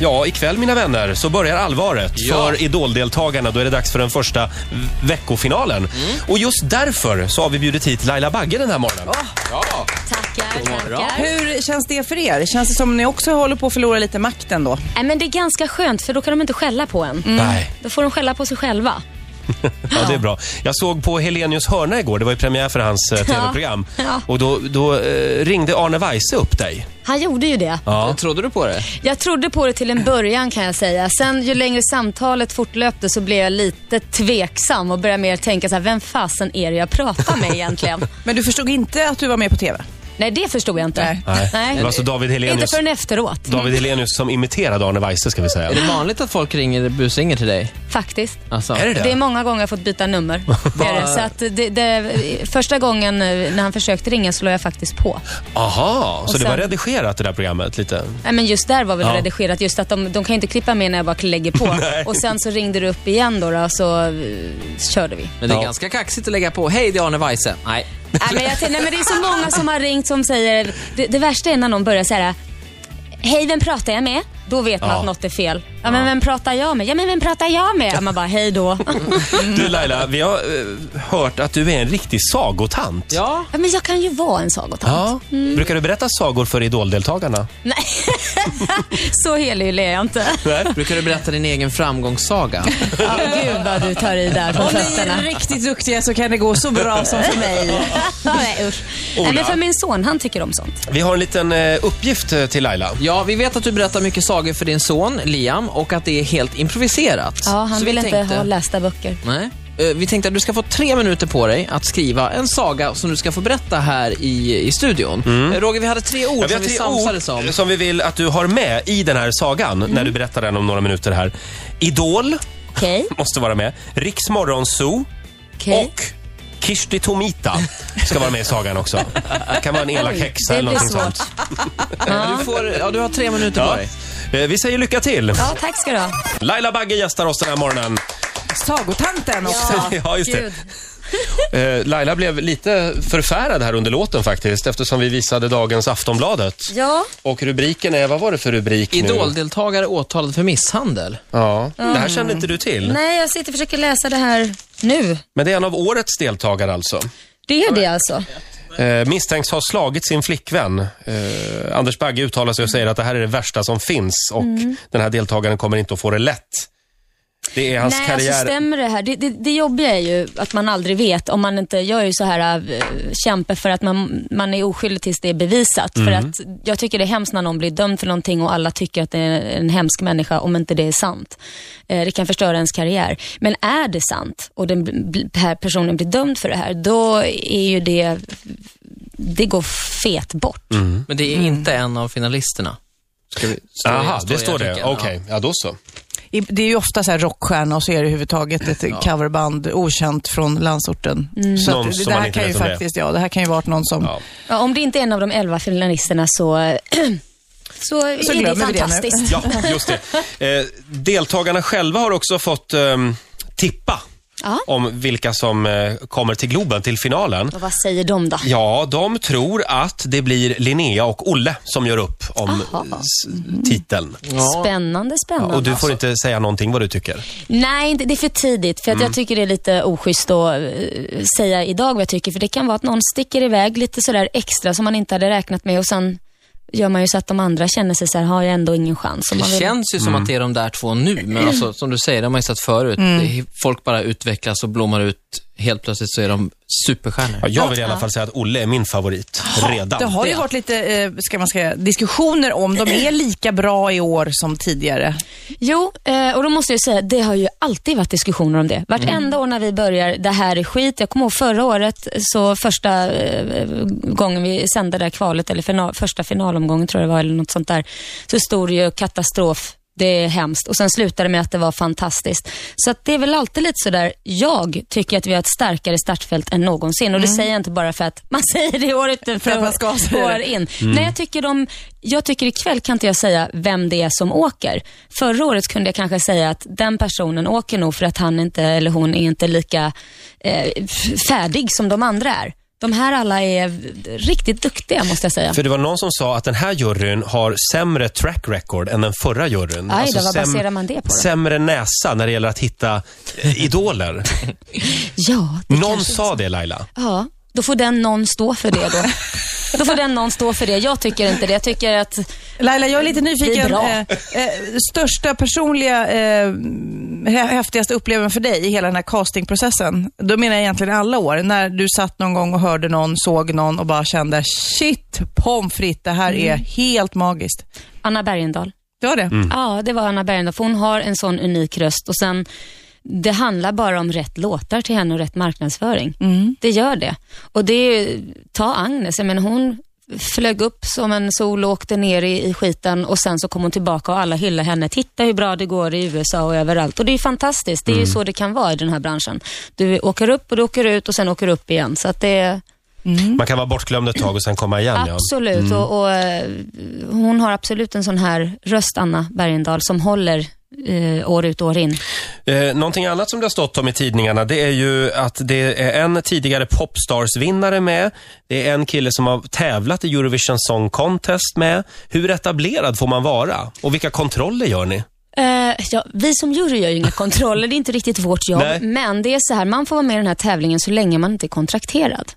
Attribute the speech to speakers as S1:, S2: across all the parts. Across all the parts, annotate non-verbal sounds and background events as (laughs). S1: Ja, ikväll mina vänner så börjar allvaret
S2: Ja.
S1: för Idol-deltagarna. Då är det dags för den första v- veckofinalen. Och just därför så har vi bjudit hit Laila Bagge den här morgonen.
S2: Ja.
S3: Tackar,
S2: God morgon.
S3: tackar.
S4: Hur känns det för er? Känns det som ni också håller på att förlora lite makten då?
S3: Nej, men det är ganska skönt för då kan de inte skälla på en.
S1: Nej,
S3: Då får de skälla på sig själva.
S1: ja, det är bra. Jag såg på Helenius hörna igår. Det var ju premiär för hans eh, tv-program.
S3: Ja.
S1: Och då, då eh, ringde Arne Weise upp dig.
S3: Han gjorde ju det.
S1: Ja.
S2: Trodde du på det?
S3: Jag trodde på det till en början kan jag säga. Sen ju längre samtalet fortlöpte så blev jag lite tveksam och började mer tänka så här, vem fasen är det jag pratar
S1: (laughs)
S3: med egentligen?
S4: Men du förstod inte att du var med på TV?
S3: Nej, det förstod jag inte.
S4: Nej.
S1: Nej. Det var alltså David
S3: Inte
S1: Helenius.
S3: förrän efteråt,
S1: David Helenius som imiterade Arne Weise ska vi säga.
S2: Är det vanligt att folk ringer busringer till dig?
S3: faktiskt.
S2: Alltså.
S1: Är det det?
S3: Det är många gånger jag fått
S1: (laughs)
S3: byta nummer. Det är det. Så att det, det, första gången eh, när han försökte ringa så la jag faktiskt på.
S1: Aha, så
S3: Och
S1: det var
S3: sen-
S1: redigerat det där programmet lite?
S3: Nej, men just där var väl
S1: Ja.
S3: redigerat, just att de, de kan ju inte klippa med när jag bara lägger (laughs) på. och sen så ringde du upp igen då, då så eh, körde (laughs) vi.
S2: Men det är
S1: Ja.
S2: ganska kaxigt att lägga på. Hej, det är Arne Weise. Nej.
S3: nej, men jag, tänkte- nej, men det är så många som har ringt som säger, det, det värsta är när någon börjar säga Hej, vem pratar jag med? Då vet man
S1: Ja.
S3: att något är fel. Ja, men vem pratar jag med? Ja, men vem pratar jag med? Ja, man bara, hej (laughs) då.
S1: Du Laila, vi har eh, hört att du är en riktig sagotant.
S2: Ja.
S3: Ja, men jag kan ju vara en sagotant.
S1: Ja. Mm. Brukar du berätta sagor för idoldeltagarna?
S3: Nej, (laughs) så helylle är jag inte.
S2: Brukar du berätta din egen framgångssaga?
S3: (laughs) Ja, gud vad du tar i där på
S4: Om ni
S3: fötterna.
S4: är riktigt duktiga så kan det gå så bra som för mig.
S3: (laughs) Nej, usch. Nej, men för min son, han tycker om sånt.
S1: Vi har en liten eh, uppgift eh, till Laila.
S2: Ja, vi vet att du berättar mycket sagor för din son Liam och att det är helt improviserat.
S3: Ja, han
S2: Så
S3: vill
S2: vi
S3: inte
S2: tänkte-
S3: ha lästa böcker.
S2: Nej. Eh, Vi tänkte att du ska få tre minuter på dig att skriva en saga som du ska få berätta här i, i studion. Eh, Roger, vi hade tre ord
S1: Mm. Ja,
S2: som vi samsades om.
S1: ord som vi vill att du har med i den här sagan när du berättar den om några minuter här. Idol
S3: Okej,
S1: måste vara med. Riks Morgonzoo
S3: okej.
S1: och Kirsti Tomita ska vara med i sagan också. Kan vara en elak
S3: Oj,
S1: häxa
S3: det
S1: eller
S3: blir
S1: någonting
S3: svårt.
S1: sånt.
S2: Du, får, ja, du har tre minuter på
S1: Ja.
S2: dig.
S1: Eh, Vi säger lycka till.
S3: Ja, tack ska du ha.
S1: Laila Bagge gästar oss den här morgonen.
S4: (laughs) Sagotanten också.
S1: (laughs) Ja, just det.
S3: Gud.
S1: Eh, Laila blev lite förfärad här under låten faktiskt eftersom vi visade dagens Aftonbladet.
S3: Ja,
S1: Och rubriken är, vad var det för rubrik nu?
S2: Idoldeltagare åtalad för misshandel.
S1: Ja, Mm. det här kände inte du till.
S3: nej jag sitter och försöker läsa det här nu.
S1: Men det är en av årets deltagare alltså.
S3: Det är det alltså.
S1: Eh, misstänks ha slagit sin flickvän. Eh, Anders Bagge uttalar sig och säger att det här är det värsta som finns och
S3: Mm.
S1: den här deltagaren kommer inte att få det lätt. Det är hans
S3: nej,
S1: karriär.
S3: alltså stämmer det här? Det, det, det jobbiga är ju att man aldrig vet om man inte, jag är ju så här, äh, kämpe för att man, man är oskyldig tills det är bevisat. För att jag tycker det är hemskt när någon blir dömd för någonting och alla tycker att det är en hemsk människa om inte det är sant. Eh, Det kan förstöra ens karriär. Men är det sant och den bl- här personen blir dömd för det här, då är ju det, det går fet bort.
S2: Men det är
S3: Mm.
S2: inte en av finalisterna. Ska vi, står
S1: Aha,
S2: i
S1: det står det.
S2: artikeln,
S1: Okej,
S2: ja.
S1: ja då så.
S4: I- Det är ju ofta så här rockstjärna och så är det överhuvudtaget ett coverband okänt från landsorten. Så
S1: Någon
S4: att det,
S1: som
S4: det
S1: man
S4: här
S1: inte
S4: kan
S1: vet
S4: ju
S1: om det är.
S4: faktiskt, ja det här kan ju varit någon som...
S1: Ja.
S3: Ja, om det inte är en av de elva finalisterna så, (clears throat) så,
S4: Så
S3: är det
S4: glömmer vi det nu.
S3: fantastiskt.
S1: Ja, just det. Eh, deltagarna själva har också fått ehm, tippa
S3: Ja.
S1: om vilka som eh, kommer till Globen, till finalen.
S3: Och vad säger de då?
S1: Ja, de tror att det blir Linnea och Olle som gör upp om
S3: Aha. Mm.
S1: s- titeln.
S3: Spännande, spännande.
S1: Och du får inte säga någonting vad du tycker.
S3: Nej, inte- det är för tidigt. För att
S1: Mm.
S3: jag tycker det är lite oschysst att eh, säga idag vad jag tycker. För det kan vara att någon sticker iväg lite sådär extra som man inte hade räknat med och sen gör man ju så att de andra känner sig så här, har jag ändå ingen chans. Och man
S2: Det
S3: vill... Mm.
S2: känns ju som att det är de där två nu, men alltså, som du säger, de har ju sett förut. Det är- Folk bara utvecklas och blommar ut. Helt plötsligt så är de superstjärnor.
S3: (laughs)
S1: Ja, jag vill i alla fall säga att Olle är min favorit redan.
S4: Det har ju
S2: Det.
S4: varit lite eh, ska man säga, diskussioner om de är lika bra i år som tidigare.
S3: Jo, eh, och då måste jag säga, det har ju alltid varit diskussioner om det.
S4: Mm.
S3: Vartenda år när vi börjar, det här är skit. Jag kommer ihåg förra året, så första eh, gången vi sände det här kvalet, eller final, första finalomgången tror jag det var, eller något sånt där, så stod det ju katastrof. Det är hemskt. Och sen slutade det med att det var fantastiskt. Så att det är väl alltid lite sådär, jag tycker att vi har ett starkare startfält än någonsin. Och det säger jag inte bara för att man (laughs) säger det år ut
S4: Mm. För att man ska säga
S3: år
S4: det.
S3: in. Nej, jag tycker, de, jag tycker ikväll kan inte jag säga vem det är som åker. Förra året kunde jag kanske säga att den personen åker nog för att han inte, eller hon är inte lika eh, f- färdig som de andra är. De här alla är riktigt duktiga måste jag säga.
S1: För det var någon som sa att den här juryn har sämre track record än den förra juryn. Alltså
S3: Aj då, vad baserar man det på då?
S1: Sämre näsa när det gäller att
S3: (laughs)
S1: hitta eh, idoler.
S3: Ja, det
S1: någon
S3: kanske-
S1: sa det Laila.
S3: Ja, då får den någon stå för det då. Då får den någon stå för det. Jag tycker inte det. Jag tycker att
S4: Laila, jag är lite nyfiken.
S3: bra.
S4: Eh, eh, största personliga, eh, hä- häftigaste upplevelsen för dig i hela den här castingprocessen? Då menar jag egentligen alla år. När du satt någon gång och hörde någon, såg någon och bara kände shit, pommes frites, det här är helt magiskt.
S3: Anna Bergendahl.
S4: Det var det?
S3: Ja, det var Anna Bergendahl. För hon har en sån unik röst och sen det handlar bara om rätt låtar till henne och rätt marknadsföring. Det gör det. Och det är ju, ta Agnes, men hon flög upp som en sol och åkte ner i, i skiten och sen så kom hon tillbaka och alla hyllade henne. Titta hur bra det går i USA och överallt. Och det är ju fantastiskt. Det är ju så det kan vara i den här branschen. Du åker upp och du åker ut och sen åker du upp igen. Så att det är
S1: Man kan vara bortglömd ett tag och sen komma igen. Ja.
S3: Mm. Absolut. Och, och, eh, hon har absolut en sån här röst, Anna Bergendahl, som håller eh, år ut och år in.
S1: Eh, någonting annat som det har stått om i tidningarna det är ju att det är en tidigare Popstars-vinnare med. Det är en kille som har tävlat i Eurovision Song Contest med. Hur etablerad får man vara? Och vilka kontroller gör ni?
S3: Eh, ja, vi som jury gör ju inga kontroller, det är inte riktigt vårt jobb.
S1: Nej.
S3: Men det är så här, man får vara med i den här tävlingen så länge man inte är kontrakterad.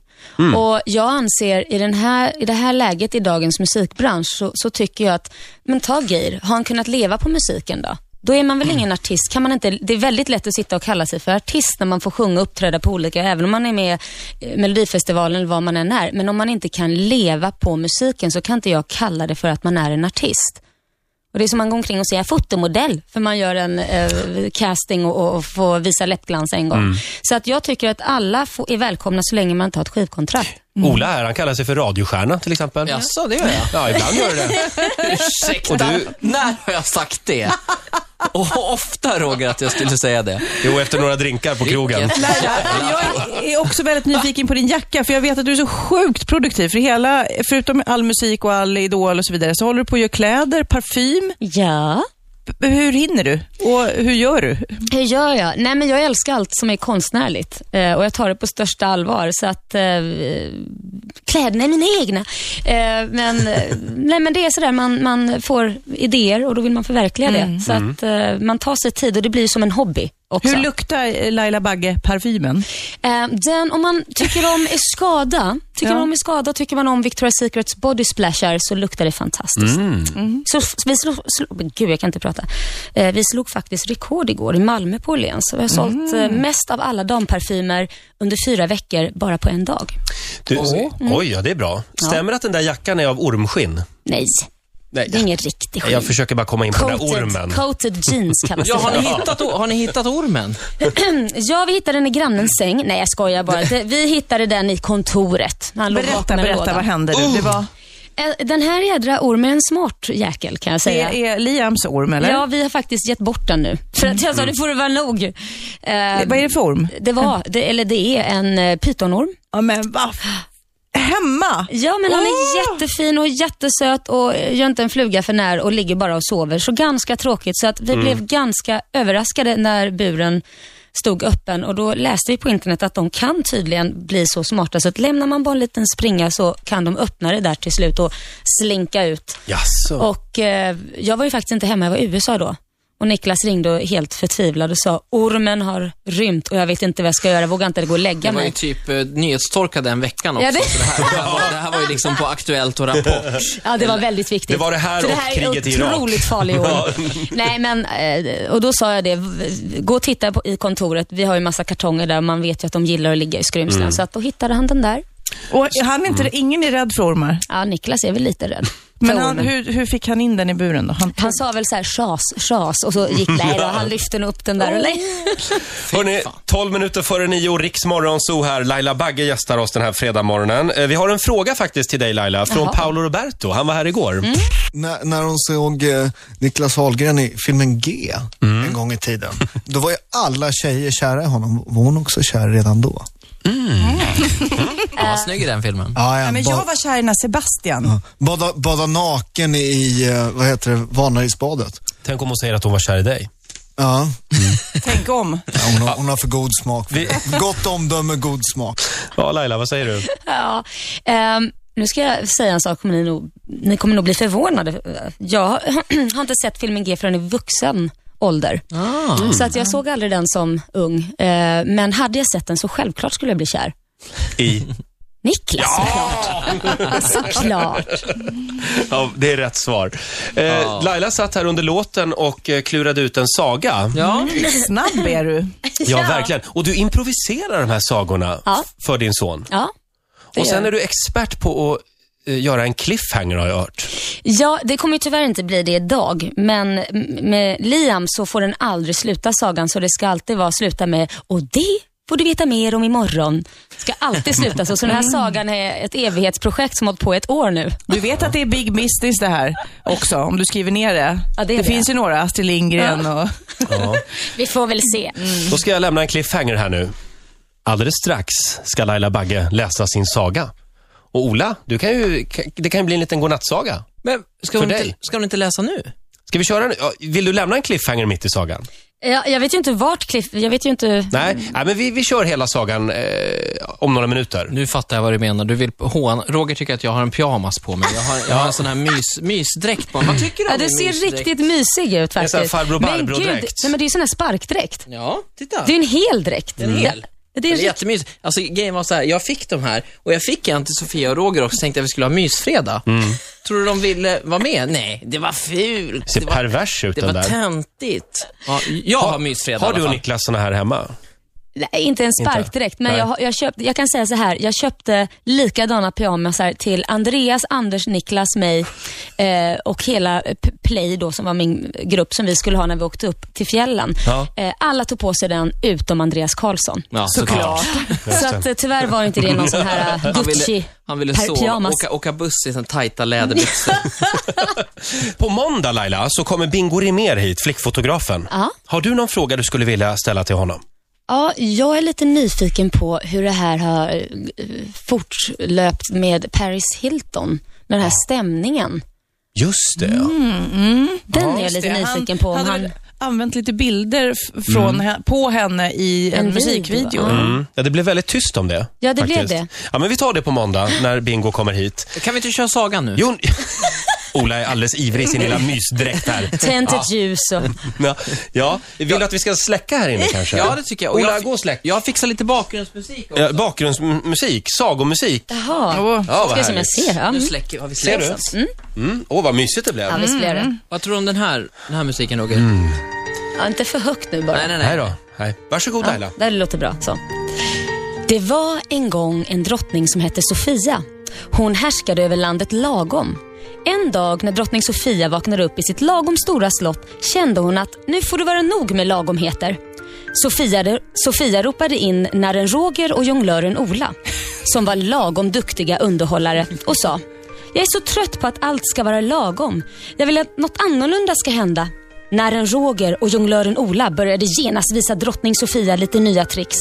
S3: Och Jag anser i, den här, i det här läget i dagens musikbransch så, så tycker jag att, men ta Geir, har han kunnat leva på musiken då? Då är man väl ingen artist. Kan man inte, det är väldigt lätt att sitta och kalla sig för artist när man får sjunga och uppträda på olika, även om man är med i Melodifestivalen eller vad man än är. Men om man inte kan leva på musiken så kan inte jag kalla det för att man är en artist. Och Det är som man går omkring och säger fotomodell, för man gör en eh, casting och, och- och får visa läppglans en gång. Så att jag tycker att alla får, är välkomna så länge man inte har ett skivkontrakt.
S1: Ola här, han kallar sig för radiostjärna till exempel.
S2: Mm. Jaså, det gör jag?
S1: Ja, ibland gör du det.
S2: Ursäkta,
S1: Och du-
S2: när har jag sagt det? (laughs) Och ofta Roger att jag skulle säga det.
S1: Jo, efter några drinkar på krogen.
S2: Vilket-
S4: Laila, jag är också väldigt nyfiken på din jacka, för jag vet att du är så sjukt produktiv. För hela, förutom all musik och all idol och så vidare, så håller du på att göra kläder, parfym.
S3: Ja.
S4: B- Hur hinner du? Och hur gör du?
S3: Hur gör jag? Nej, men jag älskar allt som är konstnärligt eh, och jag tar det på största allvar. Så att eh, kläderna är mina egna. Eh, men, eh, nej, men det är sådär, man, man får idéer och då vill man förverkliga det. Så att eh, man tar sig tid och det blir som en hobby också.
S4: Hur luktar Laila Bagge parfymen?
S3: Eh, den, om man tycker om Escada, tycker
S4: Ja.
S3: man om Escada, tycker man om Victoria's Secrets body splashar så luktar det fantastiskt. Mm. Så f- vi slog, slog, gud jag kan inte prata. Eh, vi slog faktiskt rekord igår i Malmö på Åhléns. Vi har sålt eh, mest av alla damparfymer under fyra veckor bara på en dag.
S1: Du,
S2: Mm.
S1: Oj, ja det är bra. Stämmer att den där jackan är av ormskinn?
S3: Nej,
S1: Nej,
S3: det är ingen riktig skit.
S1: jag försöker bara komma in på den där ormen.
S3: Coated, coated jeans
S4: (laughs)
S3: kallas
S2: Ja, har,
S3: det.
S2: ni hittat, o- har ni hittat ormen?
S3: Ja, vi hittade den i grannens säng. Nej, jag skojar bara. Det- Vi hittade den i kontoret. Han låg
S4: Berätta,
S3: bakom en
S4: berätta,
S3: låda.
S4: vad hände nu? Det, var,
S3: Eh, Den här jädra ormen är en smart jäkel kan jag säga.
S4: det är Liams orm, eller?
S3: Ja, vi har faktiskt gett bort den nu. För att jag sa, nu får det vara nog. Eh,
S4: Vad är det för orm?
S3: det var, det, eller det är en eh, pytonorm.
S4: Ja, men va? Hemma?
S3: Ja, men han är
S4: Åh!
S3: jättefin och jättesöt och eh, gör inte en fluga för när och ligger bara och sover. Så ganska tråkigt. Så att vi blev ganska överraskade när buren stod öppen och då läste vi på internet att de kan tydligen bli så smarta så att lämnar man bara en liten springa så kan de öppna det där till slut och slinka ut.
S1: Jaså?
S3: Och eh, jag var ju faktiskt inte hemma, jag var i USA då. Och Niklas ringde och helt förtvivlad och sa, ormen har rymt och jag vet inte vad jag ska göra, jag vågar inte gå och
S2: Det
S3: lägga
S2: var ju
S3: mig.
S2: typ eh, nyhetstorka den veckan också.
S3: Ja, det-
S2: så det, här, det, här var, det här var ju liksom på Aktuellt och Rapport.
S3: (laughs) Ja, det var väldigt viktigt.
S1: Det var det här
S3: För det
S1: och
S3: här
S1: kriget i
S3: är
S1: Irak.
S3: otroligt
S1: (laughs)
S3: farlig orm.
S1: Ja.
S3: Nej, men, eh, och då sa jag det, v- gå och titta på, i kontoret, vi har ju massa kartonger där och man vet ju att de gillar att ligga i skrymslen.
S1: Mm.
S3: Så att då hittade han den där.
S4: Och han är inte, Ingen är rädd för ormar.
S3: Ja, Niklas är väl lite rädd.
S4: Men
S3: för
S4: han,
S3: ormen.
S4: hur, hur fick han in den i buren då? Han,
S3: han sa väl så här, schas, schas och så
S1: (laughs)
S3: gick nej då, han lyfte nog upp den där. Och,
S1: Hörni, 12 minuter före nio, Riks Morgonzoo här. Laila Bagge gästar oss den här fredagmorgonen. Eh, Vi har en fråga faktiskt till dig Laila, från
S3: Jaha. Mm.
S1: Paolo Roberto. Han var här igår.
S5: när, när hon såg eh, Niklas Wahlgren i filmen G en gång i tiden, då var ju alla tjejer kära i honom. Var hon också kär redan då?
S2: Ja, vad snygg i den filmen.
S5: Ja,
S4: ja, men jag var kär i den här Sebastian.
S5: bada, bada naken i, eh, vad heter det, Vanadisbadet.
S1: Tänk om hon säger att hon var kär i dig.
S5: Ja,
S4: Tänk om.
S5: ja hon, har, hon har för god smak. För det. Gott omdöme, god smak.
S1: Ja, Laila, vad säger
S3: (laughs)
S1: du?
S3: Ja, ehm, nu ska jag säga en sak, kommer ni, nog, ni kommer nog bli förvånade. Jag har (clears throat) inte sett filmen G förrän i vuxen ålder. Så att jag såg aldrig den som ung. Eh, men hade jag sett den så självklart skulle jag bli kär.
S1: I?
S3: Niklas alltså, såklart. såklart.
S1: Ja, det är rätt svar. Eh, Laila satt här under låten och eh, klurade ut en saga. Ja,
S2: Ja,
S4: Snabb är du.
S1: verkligen. Och du improviserar de här sagorna
S3: Ja.
S1: f- för din son.
S3: Ja. det
S1: Och
S3: gör
S1: sen
S3: jag.
S1: är du expert på att eh, göra en cliffhanger har jag hört.
S3: Ja, det kommer ju tyvärr inte bli det idag, men m- med Liam så får den aldrig sluta sagan, så det ska alltid vara sluta med och det får du veta mer om imorgon. Ska alltid sluta så, så den här sagan är ett evighetsprojekt som hållit på i ett år nu.
S4: Du vet att det är big business det här också, om du skriver ner det.
S3: Ja, det är det.
S4: det finns ju några, Astrid Lindgren och...
S3: Vi får väl se.
S1: Då ska jag lämna en cliffhanger här nu. Alldeles strax ska Laila Bagge läsa sin saga. Och Ola, du kan ju, det kan ju bli en liten godnattsaga.
S2: men ska
S1: För
S2: hon, inte,
S1: dig.
S2: ska hon inte läsa nu?
S1: Ska vi köra nu? Ja, Vill du lämna en cliffhanger mitt i sagan?
S3: Ja, jag vet ju inte vart Cliff... Jag vet ju inte...
S1: Nej,
S2: Mm.
S1: Nej men vi, vi kör hela sagan eh, om några minuter.
S2: Nu fattar jag vad du menar. Du vill håna. Roger tycker att jag har en pyjamas på mig. Jag har, jag har en sån här mys, mysdräkt på mig. Vad tycker du
S3: Ja,
S2: om
S3: det
S2: min
S3: ser
S2: mysdräkt?
S3: riktigt mysig ut
S1: är
S3: faktiskt.
S1: så här farbror
S3: men
S1: Barbro-dräkt.
S3: nej men det är ju sån här sparkdräkt.
S2: Ja, titta.
S3: Det är ju en hel dräkt.
S2: En hel.
S3: Ja, Det är
S2: Det är
S3: en
S2: jättemysigt. Alltså grejen var så här, jag fick de här och jag fick en till Sofia och Roger också, tänkte att vi skulle ha mysfredag. Tror du de ville vara med? Nej, det var fult.
S1: Ser
S2: Det var,
S1: pervers ut
S2: det
S1: den
S2: var
S1: där.
S2: töntigt. Ja, jag har mysfredag
S1: Har
S2: i
S1: du och
S2: alla fall.
S1: Niklas såna här hemma?
S3: Nej, inte en sparkdräkt, men
S1: Nej.
S3: jag, har- jag, köpt, jag kan säga så här. Jag köpte likadana pyjamasar till Andreas, Anders, Niklas, mig eh, och hela eh, P- Play då, som var min grupp som vi skulle ha när vi åkte upp till fjällen.
S1: Ja.
S3: Eh, alla tog på sig den utom Andreas Karlsson.
S2: Ja, såklart.
S3: Så att, eh, tyvärr var inte det någon sån
S2: (laughs)
S3: här eh,
S2: Han ville,
S3: Gucci
S2: han ville
S3: per-
S2: sova,
S3: pyjamas.
S2: åka, åka buss i sån tajta läderbyxor.
S1: På måndag Laila så kommer Bingo Rimér hit, flickfotografen.
S3: Ja.
S1: Har du någon fråga du skulle vilja ställa till honom?
S3: Ja, jag är lite nyfiken på hur det här har eh, fortlöpt med Paris Hilton, med den här stämningen.
S1: Just det, ja.
S2: Mm.
S3: Den är jag
S4: Just
S3: lite
S4: det,
S3: nyfiken på. Om
S4: Alltså, hade
S3: han...
S4: väl använt lite bilder f- från, he- på henne i en,
S3: En video,
S4: musikvideo.
S3: ja.
S1: Mm. Ja, det blev väldigt tyst om det.
S3: Ja, det blev
S1: faktiskt.
S3: det.
S1: Ja, men vi tar det på måndag när Bingo kommer hit.
S2: Kan vi inte köra sagan nu?
S1: Jo, (laughs) Ola är alldeles ivrig i sin lilla mysdräkt här.
S3: Tänt ett ljus och...
S1: Ja, ja. Vill du att vi ska släcka här inne kanske?
S2: Ja, det tycker jag.
S1: Ola,
S2: jag,
S1: gå och släck.
S2: jag fixar lite bakgrundsmusik också.
S1: Ja, bakgrundsmusik, sagomusik.
S3: Jaha.
S4: Åh,
S1: Ja,
S3: det är som jag ser. Ja,
S2: Nu
S3: mm.
S2: släcker, har vi
S1: Ser
S2: släckt
S1: du? Mm.
S2: den?
S1: Åh, vad mysigt det blev.
S3: ja visst blev det.
S2: Vad tror du om den här, den här musiken, Roger?
S3: Ja, inte för högt nu bara.
S2: Nej, nej,
S1: Nej
S2: nej.
S1: då. Nej. Varsågod Laila.
S3: Det låter bra. Så. Det var en gång en drottning som hette Sofia. Hon härskade över landet lagom. En dag när drottning Sofia vaknade upp i sitt lagom stora slott kände hon att nu får det vara nog med lagomheter. Sofia, Sofia ropade in närren Roger och jonglören Ola som var lagom duktiga underhållare och sa Jag är så trött på att allt ska vara lagom. Jag vill att något annorlunda ska hända. Nären Roger och jonglören Ola började genast visa drottning Sofia lite nya tricks.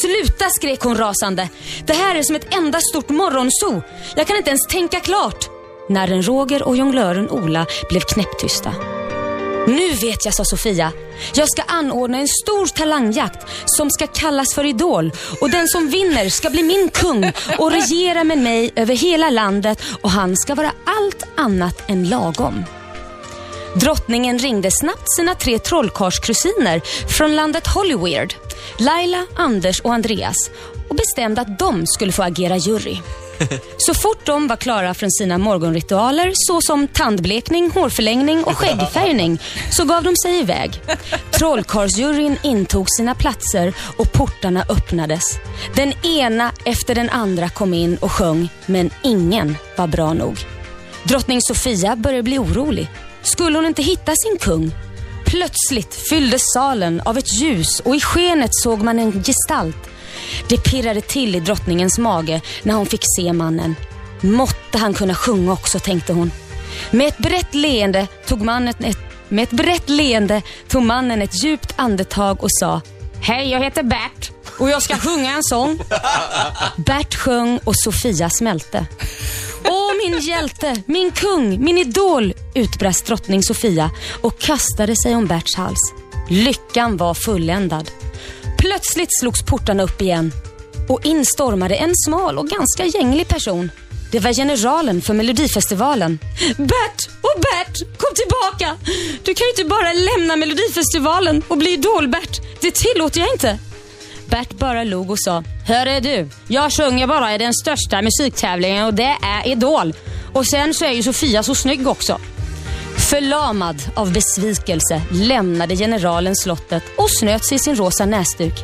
S3: Sluta, skrek hon rasande. Det här är som ett enda stort morgonso. Jag kan inte ens tänka klart. Nären Roger och jonglören Ola blev knäpptysta. Nu vet jag, sa Sofia. Jag ska anordna en stor talangjakt som ska kallas för Idol. Och den som vinner ska bli min kung och regera med mig över hela landet och han ska vara allt annat än lagom. Drottningen ringde snabbt sina tre trollkarlskusiner från landet Hollyweird, Laila, Anders och Andreas och bestämde att de skulle få agera jury. Så fort de var klara från sina morgonritualer såsom tandblekning, hårförlängning och skäggfärgning så gav de sig iväg. Trollkarlsjuryn intog sina platser och portarna öppnades. Den ena efter den andra kom in och sjöng men ingen var bra nog. Drottning Sofia började bli orolig. Skulle hon inte hitta sin kung? Plötsligt fylldes salen av ett ljus och i skenet såg man en gestalt. Det pirrade till i drottningens mage när hon fick se mannen. Måtte han kunna sjunga också, tänkte hon. Med ett brett leende tog mannen ett, med ett brett leende tog mannen ett djupt andetag och sa Hej, jag heter Bert och jag ska sjunga en sång. Bert sjöng och Sofia smälte. Åh, min hjälte, min kung, min idol, utbrast drottning Sofia och kastade sig om Berts hals. Lyckan var fulländad. Plötsligt slogs portarna upp igen och in stormade en smal och ganska gänglig person. Det var generalen för Melodifestivalen. Bert! Och Bert! Kom tillbaka! Du kan ju inte bara lämna Melodifestivalen och bli Idol-Bert. Det tillåter jag inte. Bert bara log och sa Hörru du, jag sjunger bara i den största musiktävlingen och det är Idol. Och sen så är ju Sofia så snygg också. Förlamad av besvikelse lämnade generalen slottet och snöt sig i sin rosa näsduk.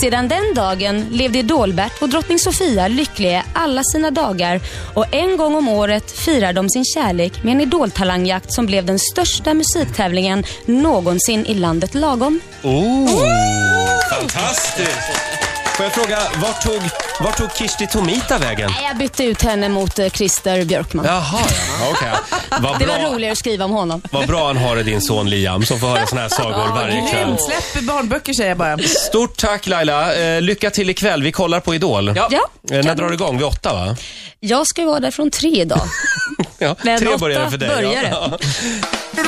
S3: Sedan den dagen levde Idolbert och drottning Sofia lyckliga alla sina dagar och en gång om året firar de sin kärlek med en idoltalangjakt som blev den största musiktävlingen någonsin i landet lagom.
S1: Oh. Fantastiskt! Får jag fråga, vart tog, vart tog Kirsti Tomita vägen?
S3: Nej, Jag bytte ut henne mot eh, Christer Björkman.
S1: Jaha, ja. okej. Vad
S3: Det var
S1: bra-
S3: roligare att skriva om honom.
S1: Vad bra han har det, din son Liam, som får höra såna här sagor varje kväll.
S4: Grymt, släpp barnböcker säger jag bara.
S1: Stort tack Laila. Eh, lycka till ikväll. Vi kollar på Idol.
S2: Ja.
S3: Ja,
S1: Eh, när drar det igång? Vid åtta, va?
S3: jag ska ju vara där från tre idag.
S1: Ja,
S3: Men
S1: tre
S3: åtta
S1: börjar det för dig. (laughs)
S3: börjar det.
S1: Ja.